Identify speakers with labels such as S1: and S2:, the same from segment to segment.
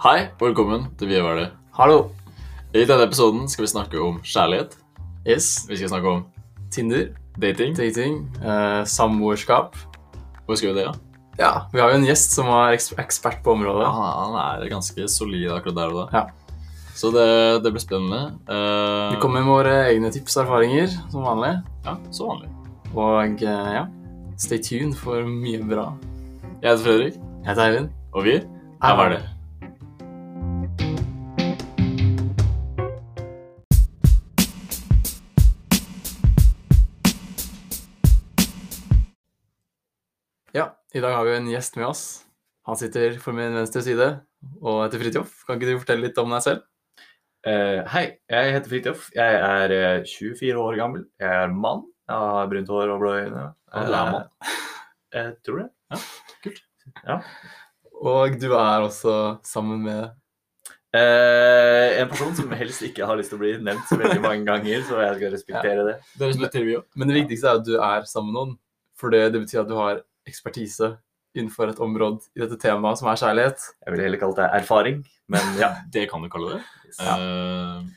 S1: Hei, velkommen til Vi var det.
S2: Hallo.
S1: I denne episoden skal vi snakke om kjærlighet.
S2: Yes.
S1: Vi skal snakke om
S2: Tinder,
S1: dating.
S2: dating, eh, samboerskap.
S1: Hvor skal vi det, da?
S2: Ja, vi har jo en gjest som er eks- ekspert på området.
S1: Han han er ganske solid akkurat der og da.
S2: Ja.
S1: Så det, det blir spennende. Eh,
S2: Vi kommer med våre egne tips og erfaringer, som vanlig.
S1: Ja, som vanlig.
S2: Og eh, ja, stay tuned for mye bra.
S1: Jeg heter Fredrik,
S2: Jeg heter Eivind.
S1: og vi Her var det.
S2: Ja, i dag har vi en gjest med oss. Han sitter for min venstre side og heter Fridtjof. Kan ikke du fortelle litt om deg selv?
S3: Eh, hei, jeg heter Fridtjof. Jeg er eh, 24 år gammel. Jeg er mann. Jeg har brunt hår og blå øyne.
S1: Ja, du er mann.
S3: Eh, Jeg tror det.
S2: Og du er også sammen med
S3: Eh, en person som helst ikke har lyst til å bli nevnt så veldig mange ganger, så jeg skal respektere det.
S1: Dere som lytter, vi òg.
S2: Men det viktigste er at du er sammen med noen. For det, det betyr at du har ekspertise innenfor et område i dette temaet, som er kjærlighet.
S3: Jeg ville heller kalt det erfaring, men ja.
S1: Det kan du kalle det.
S3: Ja.
S1: Eh,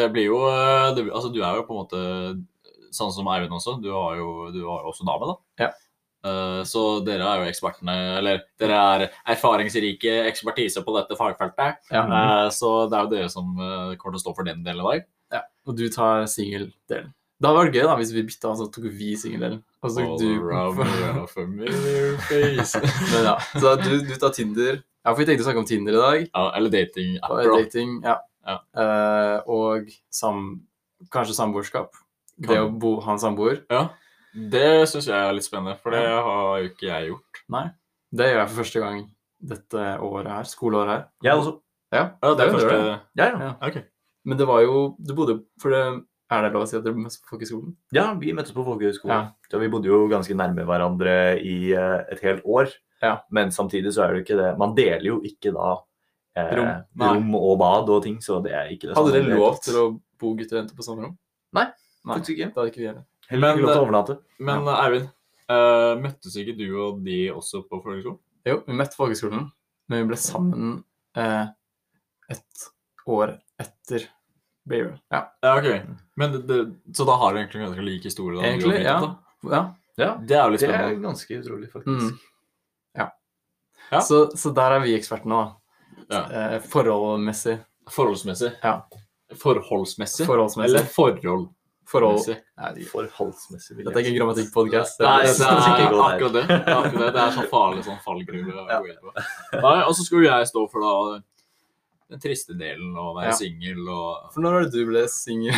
S1: det blir jo eh, det, blir- Altså, du er jo på en måte sånn som Eivind også. Du har jo du har jo også dame, da.
S2: Ja.
S1: Eh, så dere er jo ekspertene, eller dere er erfaringsrike ekspertise på dette fagfeltet.
S2: Ja.
S1: Eh, så det er jo dere som eh, kommer til å stå for den delen i dag.
S2: Og du tar singeldelen. Det hadde vært gøy da, hvis vi bytta, og så tok vi singeldelen. Og så tok
S1: All around
S2: du
S1: your familiar face.
S2: Men ja, så du, du tar Tinder. Ja, for vi tenkte å snakke om Tinder i dag.
S1: ja, eller datingapper,
S2: Og
S1: da.
S2: dating, ja.
S1: Ja.
S2: Eh, og sam, kanskje samboerskap. Det å bo, ha en samboer.
S1: Ja, det syns jeg er litt spennende, for det har jo ikke jeg gjort.
S2: Det gjør jeg for første gang dette året her. Skoleåret her.
S3: Jeg også.
S2: Ja,
S1: Ja, det er
S2: du gjør
S1: første
S2: det.
S3: Ja,
S2: Ja.
S3: ja.
S1: Ok.
S2: Men det var jo Du bodde jo For det er det lov å si at dere møttes på folkehøgskolen?
S3: ja vi møttes på folkehøyskolen.
S2: Ja.
S3: Så vi bodde jo ganske nærme hverandre i eh, et helt år.
S2: Ja.
S3: Men samtidig så er det jo ikke det Man deler jo ikke da eh,
S2: Rom. Nei.
S3: rom og bad og ting, så det er ikke det
S2: Hadde
S3: i
S2: dere
S3: det hele
S2: lov
S3: tatt.
S2: til å bo gutter og jenter på samme rom? Nei.
S3: Faktisk ikke.
S2: Det hadde ikke vi heller.
S3: Heller
S1: Men,
S3: ikke lov til å overnatte.
S1: Men eh, Eivind, eh, møttes ikke du og de også på folkehøgskolen?
S2: Jo, vi møtte på folkehøgskolen, men vi ble sammen eh, et år etter Beyer. Ja,
S1: Ja, ok. Men det, det, så da har du egentlig ganske lik historie? Da, du og
S2: egentlig.
S1: Fridtjof,
S2: Ja. ja.
S3: Ja,
S1: Da. Det er jo litt
S3: det er
S1: spennende.
S3: ganske utrolig,
S2: Mm.
S3: faktisk.
S1: Ja.
S2: Så, så der er vi ekspertene, da.
S1: Ja.
S2: Eh, forholdmessig.
S1: Forholdsmessig.
S2: Ja.
S1: Forholdsmessig?
S2: Forholdsmessig.
S1: Eller forhold?
S2: Forhold.
S1: Messig.
S2: Nei, det-
S3: Forholdsmessig vil
S2: Dette er ikke
S3: jeg si.
S2: grammatikkpodkast.
S1: Nei, det
S2: sånn
S1: er
S3: skal ikke gå der.
S1: akkurat det. Det er akkurat det. Det er sånn farlig sånn fallgruve å gå inn på. Nei, og så skulle jeg stå for da den triste delen og
S2: Ja.
S1: være singel og
S2: For når var det du ble singel?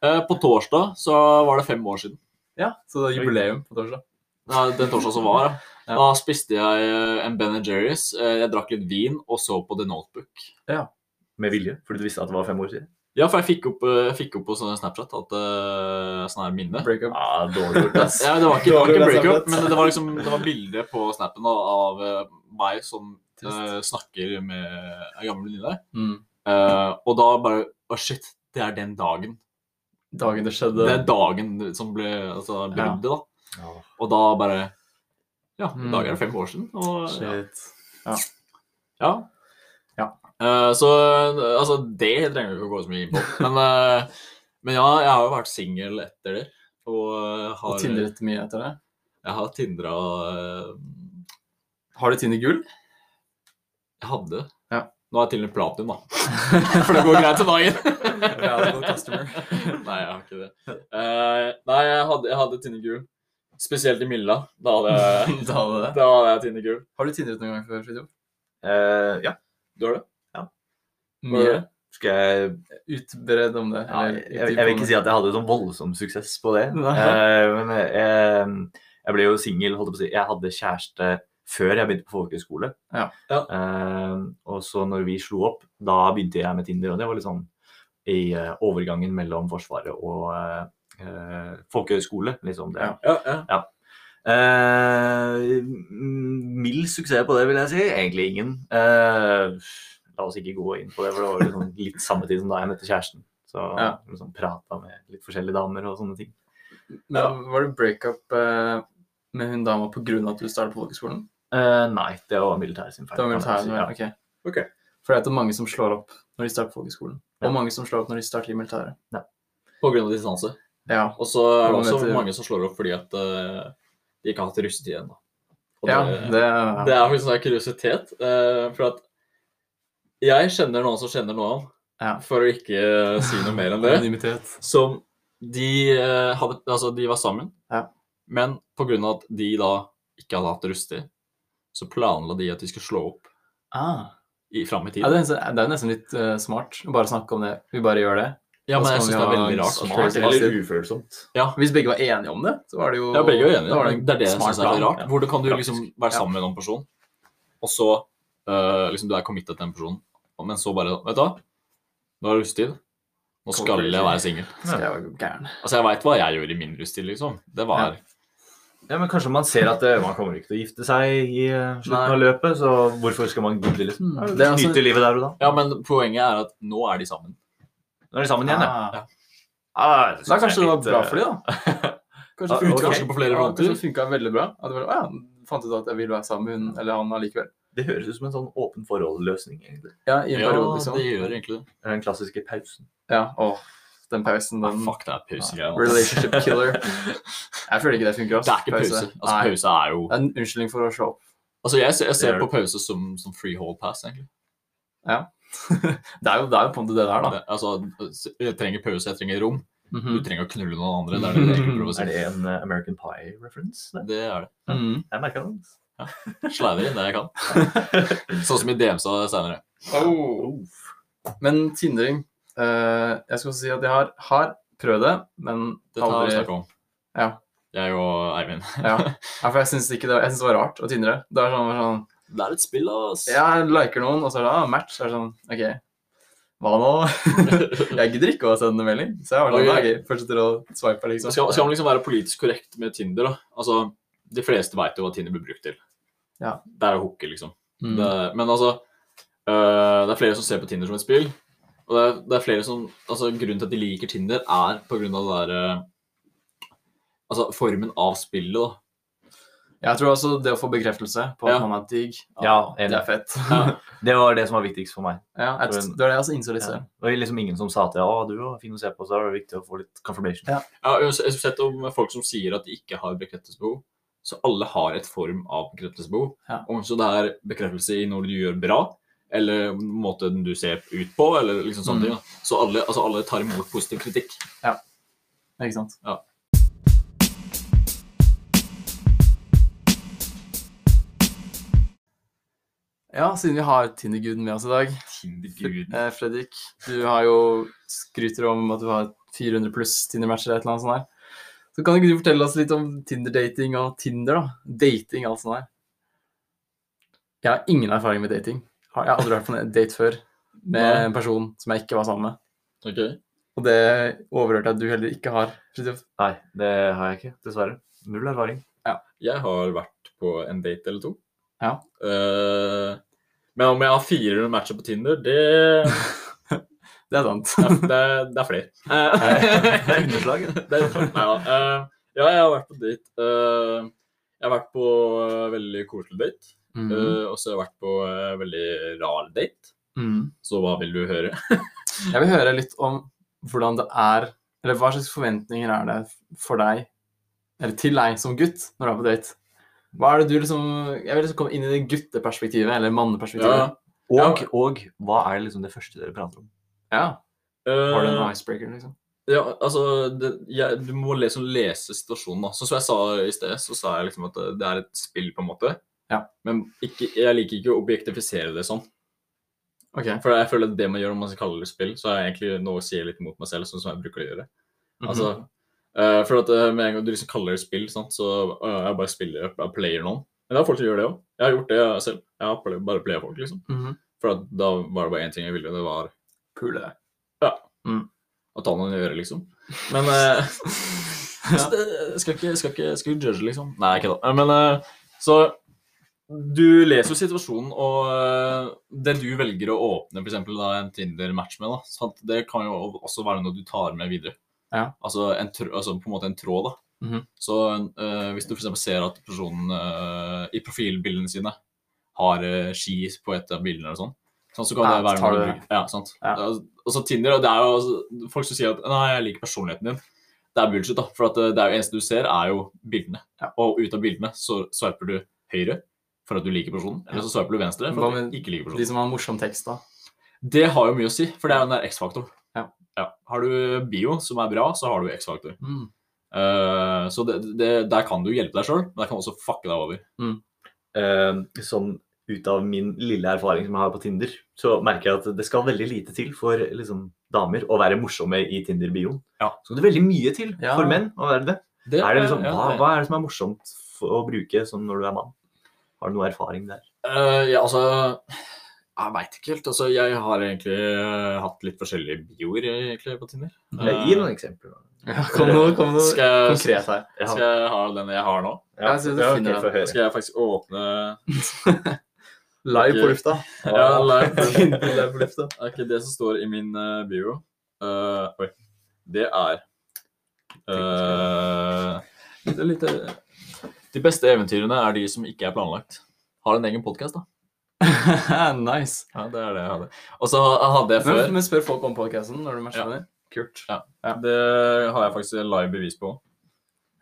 S1: Eh, På torsdag så var det fem år siden.
S2: Ja, så det er jubileum på torsdag.
S1: Nei, Den torsdagen som var,
S2: Ja.
S1: ja. Da spiste jeg eh, en Ben Jerry's, eh, jeg drakk litt vin og så på The Notebook.
S3: Med vilje, fordi du visste at det var fem år siden.
S1: Ja, for jeg fikk opp, eh, jeg fikk opp på sånn Snapchat at eh, sånn her minne.
S2: Breakup.
S3: Ah, dårlig gjort, ass.
S1: Ja, men det var ikke, det var
S2: Dårlig
S1: ikke
S2: å lese
S1: breakup,
S2: Snapchat.
S1: men det var liksom det var bilde på snappen da, av eh, meg som eh,
S2: Trist.
S1: snakker med ei gammel venninne.
S2: Mm.
S1: Eh, og da bare Å, shit. Det er den dagen.
S2: Dagen det
S1: Det
S2: skjedde.
S1: er dagen som ble altså,
S2: Ja.
S1: bruddet, da.
S3: Ja.
S1: Og da bare Ja, i
S2: Mm.
S1: dag er det fem år siden. Og, ja.
S2: Shit.
S1: ja.
S2: Ja.
S1: Eh, så eh, altså, det trenger vi ikke å gå så mye inn på. Men, eh, men ja, jeg har jo vært singel etter det. Og eh, har,
S2: Og tindret mye etter det.
S1: Jeg har tindra eh,
S2: Har du Tinder gull?
S1: Jeg hadde.
S2: Ja.
S1: Nå er jeg til og med platinum, da. For det går greit til dagen.
S2: Valuable customer.
S1: nei, jeg har ikke det. Eh, nei, jeg hadde, jeg hadde Tinder gul. Spesielt i Milla. Da hadde jeg,
S2: Da hadde det.
S1: da hadde jeg Tinder gul.
S2: Har du tindret noen gang før, Fridtjof?
S3: Eh, ja.
S1: Du har det?
S2: Mye.
S3: Skal jeg
S2: Utbredd om det.
S3: ja, jeg, jeg, jeg vil ikke si at jeg hadde sånn voldsom suksess på det.
S2: Nei.
S3: Eh, men jeg, jeg, jeg ble jo singel, holdt jeg på å si. Jeg hadde kjæreste før jeg begynte på folkehøyskole.
S2: Ja.
S1: Ja.
S3: Eh, og så når vi slo opp, da begynte jeg med Tinder, og det var litt sånn i eh, overgangen mellom Forsvaret og eh, eh, folkehøyskole, liksom det.
S2: Ja.
S1: Ja, ja.
S3: Eh, mm, mild suksess på det, vil jeg si. Egentlig ingen. Eh, la oss ikke gå inn på det, for det var jo liksom litt samme tid som da jeg møtte kjæresten. Så
S2: Ja.
S3: liksom prata med litt forskjellige damer og sånne ting.
S2: Men Var det breakup eh, med hun dama pga. at du startet på folkeskolen?
S3: Eh, nei, det var militæret sin feil.
S2: Det var
S3: kan jeg
S2: militæret,
S3: si.
S2: ja. ok.
S1: Ok.
S2: For det er ikke mange som slår opp når de starter på folkehøgskolen.
S3: Ja.
S2: Og mange som slår opp når de starter i militæret.
S1: På grunn av distanse.
S2: Ja.
S1: Og så er det
S2: Mange
S1: også
S2: vet det.
S1: mange som slår opp fordi at eh, de ikke har hatt russetid ennå. Og
S2: ja
S1: det-
S2: det,
S1: Det er faktisk en kuriositet. eh, for at jeg kjenner noen som kjenner noen,
S2: Ja.
S1: for å ikke si noe mer enn det,
S2: Anonymitet.
S1: som de, eh, hadde, altså, de var sammen,
S2: Ja.
S1: men pga. at de da ikke hadde hatt rustig, så planla de at de skulle slå opp
S2: Ah.
S1: i, fram i tid.
S2: Ja, det, er nesten, det er nesten litt eh, smart å bare snakke om det. Vi bare gjør det.
S1: Ja, men
S2: Da
S1: jeg
S2: skal
S1: syns
S2: sånn vi
S1: det er
S2: ha
S1: veldig
S2: en
S1: rart.
S2: smart
S1: Smart,
S2: eller-
S3: Eller ufølsomt.
S2: Hvis begge var enige om det, så var det jo
S1: ja, begge er jo enige.
S2: da var
S1: Det, det er det jeg
S2: en
S1: syns
S2: smart
S1: er veldig
S2: plan.
S1: rart. Hvordan kan du
S3: Praktisk.
S1: liksom være sammen med en annen person, og så eh, liksom du er committed til den personen, men så bare Vet du hva, nå er det russetid. Nå skal jeg være singel.
S2: Så jeg var jo gæren.
S1: Altså, jeg veit hva jeg gjorde i min russetid, liksom. Det var
S3: Ja, men Kanskje man ser at eh, man kommer ikke til å gifte seg i eh, slutten av løpet, så hvorfor skal man gidde, liksom?
S2: Mm, det
S3: Det
S2: er altså-
S3: livet der og da.
S1: Ja, men poenget er at nå er de sammen.
S3: Nå er de sammen igjen, ja.
S2: Ah.
S3: Ah, jeg synes
S2: Så da kanskje
S3: er
S2: det var
S3: litt,
S2: bra
S3: eh,
S2: for de da. Kanskje
S3: Ja,
S2: det
S3: ok.
S2: funka
S1: Kanskje på flere
S2: ja,
S1: fronter.
S2: kanskje det funket veldig bra. At det var, ah, ja, fant ut at jeg vil være sammen med hun eller han allikevel.
S3: Det høres ut som en sånn åpen forhold-løsning, egentlig.
S2: Ja, i en
S1: Ja,
S2: periode, liksom.
S1: de gjør egentlig det.
S3: Den klassiske pausen.
S2: Ja, åh, den pausen,
S1: Nei,
S2: den
S1: Ah, fuck, det er pausegreier. altså.
S2: relationship killer. Jeg føler ikke det funker. ass.
S1: Det er ikke pause. Altså,
S2: Nei,
S1: pause er jo
S2: det er en unnskyldning for å slå opp.
S1: Altså, jeg, ser- jeg
S3: Det
S1: ser
S3: er
S1: på
S3: det.
S1: pause som, som free hall pass, egentlig.
S2: Det er jo, det er jo på en måte det der, da.
S1: Det, altså, jeg trenger pause, jeg trenger rom. Du
S2: Mhm.
S1: trenger å knulle noen andre. Det er det jeg egentlig prøver å si.
S3: Er det en eh, American Pie-reference? det?
S1: Det er det.
S2: Mhm.
S3: Jeg merka den.
S1: Slider inn det jeg kan. Sånn som i DMSA senere.
S2: Oh. Men tindring eh, Jeg skal også si at jeg har, har prøvd det, men
S1: Dette har vi
S2: aldri
S1: snakket om.
S2: Ja.
S1: Jeg og Eivind.
S2: Ja. ja, for jeg syns ikke det, jeg synes det var rart å tindre. Det er sånn, sånn
S1: Det er et spill, ass.
S2: Ja, jeg liker noen, og så er det ah, match. Så er det sånn OK, hva nå? jeg gidder ikke å sende melding. Så jeg var sånn,
S1: Ok.
S2: okay. fortsetter å swipe, liksom.
S1: Skal, skal man liksom være politisk korrekt med Tinder, da? Altså, de fleste veit jo hva Tinder blir brukt til.
S2: Ja.
S1: Det er å hooke, liksom.
S2: Mm.
S1: Det, men altså, øh, det er flere som ser på Tinder som et spill. Og det er, det er flere som Altså, grunnen til at de liker Tinder, er på grunn av det derre Altså, formen av spillet, da.
S2: Jeg tror også det å få bekreftelse på at
S1: Ja.
S2: man er digg,
S3: Ja,
S2: det
S3: enig.
S2: er fett.
S1: Ja.
S3: Det var det som var viktigst for meg.
S2: Ja, jeg,
S3: For en-
S2: det var det jeg også innså litt
S3: Ja.
S2: selv.
S3: Det var liksom ingen som sa til deg, å, du var fin å se på, så er det viktig å få litt confirmation.
S2: Ja.
S1: Ja, uans- Uansett om folk som sier at de ikke har bekreftelsesbehov, så alle har et form av bekreftelsesbehov.
S2: Ja.
S1: Om så det er bekreftelse i når du gjør bra, eller måten du ser ut på, eller liksom sånne
S2: Mm.
S1: ting. da. Så alle, altså alle tar imot positiv kritikk.
S2: Ikke sant?
S1: Ja.
S2: Ja, siden vi har Tinderguden med oss i dag.
S1: Tindergud.
S2: Eh, Fredrik, du har jo skryter om at du har 400 pluss Tinder-matcher eller et eller annet sånt her. Så kan ikke du fortelle oss litt om Tinder-dating og Tinder, da? Dating og alt sånt her. Jeg har ingen erfaring med dating. Har- Jeg har aldri vært på en date før med
S1: Nei.
S2: en person som jeg ikke var sammen med.
S1: Ok.
S2: Og det overhørte jeg at du heller ikke har, Fridtjof.
S3: Nei, det har jeg ikke, dessverre. Null erfaring.
S1: Jeg har vært på en date eller to.
S2: Ja.
S1: Eh, men om jeg har 400 matcher på Tinder, det,
S2: Det er sant.
S1: det, er- det, er- det er flere. Eh,
S3: Det er underslag. ja.
S1: Det er litt sånn, ja. Eh, ja, jeg har vært på date. Eh, jeg har vært på eh, veldig koselig date. Eh, og så har jeg vært på eh, veldig rar date.
S2: Mhm.
S1: Så hva vil du høre?
S2: Jeg vil høre litt om hvordan det er Eller hva slags forventninger er det for deg, eller til deg som gutt, når du er på date? Hva er det du liksom Jeg vil liksom komme inn i det gutteperspektivet, eller manneperspektivet.
S3: Og, og hva er liksom det første dere prater om?
S2: Ja.
S1: Eh,
S2: Har du en icebreaker, liksom?
S1: ja, altså, det, jeg, du må liksom lese situasjonen. da. Sånn som jeg sa i sted, så sa jeg liksom at det er et spill, på en måte.
S2: Ja.
S1: Men ikke, jeg liker ikke å objektifisere det sånn.
S2: OK.
S1: For jeg føler at det man gjør om man kaller det spill, så er jeg egentlig nå sier jeg litt mot meg selv, sånn som jeg bruker å gjøre.
S2: Mhm.
S1: Altså, eh, for at eh, med en gang du liksom kaller det spill, sant, så eh, jeg bare spiller, jeg player noen. Men det er folk som gjør det òg. Jeg har gjort det jeg selv. Jeg har play- bare playa folk, liksom.
S2: Mhm.
S1: For at da var det bare én ting jeg ville, det var
S2: Pule.
S1: å ta noen i øret, liksom. Men eh, så det, jeg skal ikke, jeg skal ikke, jeg skal ikke judge, liksom. Nei, ikke da. Men eh, så du leser jo situasjonen, og eh, det du velger å åpne for eksempel, da, en Tinder-match med, da, sant? det kan jo også være noe du tar med videre.
S2: Ja.
S1: Altså, en tr altså på en måte en tråd. da.
S2: Mhm.
S1: Så eh, hvis du for eksempel ser at personen eh, i profilbildene sine har eh, ski på et av bildene, eller sånn, Sånn, så kan
S2: Ja,
S1: det være
S2: så tar
S1: noe du
S2: du det.
S1: bruker. Ja, sant.
S2: Ja.
S1: Ja, Og så Tinder, og det er jo altså, folk som sier at nei, jeg liker personligheten din. Det er bullshit, da. For at eh, det er jo eneste du ser, er jo bildene.
S2: Ja.
S1: Og ut av bildene så swiper du høyre for at du liker personen, eller så swiper du venstre for
S2: Hva
S1: at
S2: med
S1: du ikke liker
S2: De
S1: personen.
S2: som har morsom tekst, da.
S1: Det har jo mye å si, for det er jo den der X-faktor.
S2: Ja.
S1: Har du bio som er bra, så har du X-faktor.
S2: Mm.
S1: Eh, så det, det, der kan du hjelpe deg sjøl, men der kan du også fucke deg over.
S3: Eh, sånn ut av min lille erfaring som jeg har på Tinder, så merker jeg at det skal veldig lite til for liksom, damer å være morsomme i Tinder-bioen.
S1: Ja.
S3: Så skal det veldig mye til
S2: Ja.
S3: for menn å være det.
S1: Det
S3: Er det liksom,
S1: ja,
S3: hva,
S1: det-
S3: hva er det som er morsomt f- å bruke sånn når du er mann? Har du noe erfaring der?
S1: Eh, ja, altså Jeg veit ikke helt. Altså, jeg har egentlig eh, hatt litt forskjellige bioer egentlig, på Tinder. Eh,
S3: Eh, Gi noen eksempler. da.
S2: Ja, kom nå, kom nå.
S1: Skal jeg,
S2: Konkret her.
S3: Ja.
S1: skal jeg ha den jeg har nå?
S2: Ja, jeg synes du
S3: ja,
S2: finner
S3: ok,
S2: den.
S3: få høre.
S1: Skal jeg faktisk åpne
S2: Live på
S1: Ok.
S2: lufta.
S1: ja, live.
S2: Tinder live på lufta.
S1: Ok, Det som står i min eh, bio eh, Oi. Det er eh, det er lite, De beste eventyrene er de som ikke er planlagt. Har en egen podkast, da.
S2: nice.
S1: Ja, det er det jeg hadde. Og så hadde jeg før
S2: Men, men spør folk om podcasten når du matcher
S1: Ja.
S2: med dem. Kult.
S1: Det har jeg faktisk live bevis på.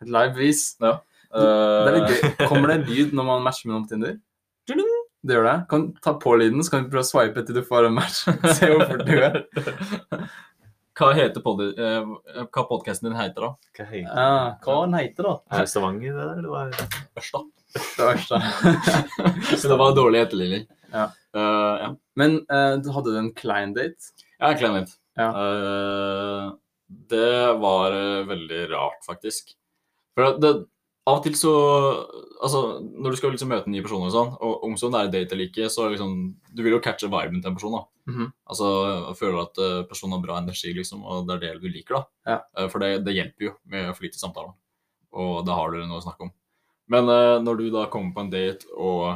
S2: Et live bevis. Det er litt
S1: Eh,
S2: gøy. Kommer det en lyd når man matcher med noen på Tinder? Det gjør det. Kan ta på lyden, så kan vi prøve å swipe til du får en match. Se hvor fort du er.
S1: Hva heter pod eh, hva podcasten din heter da?
S3: Hva heter
S2: Ja, hva den heter da?
S3: Er det Stavanger, det der? Eller hva er det?
S1: Ørsta.
S2: Det verste.
S1: Så det var en dårlig etterligning.
S2: Ja.
S1: Eh, ja.
S2: Men eh, du hadde du en klein date?
S1: Jeg er klein litt.
S2: Ja.
S1: Eh, det var eh, veldig rart, faktisk. For at det, av og til så Altså, når du skal liksom møte nye personer og sånn, og om så det er date eller ikke, så er det liksom Du vil jo catche viben til en person, da.
S2: Mhm.
S1: Altså jeg føler at eh, personen har bra energi, liksom, og det er det du liker, da.
S2: Ja.
S1: Eh, for det, det hjelper jo med å flyte samtalen, og da har du noe å snakke om. Men eh, når du da kommer på en date, og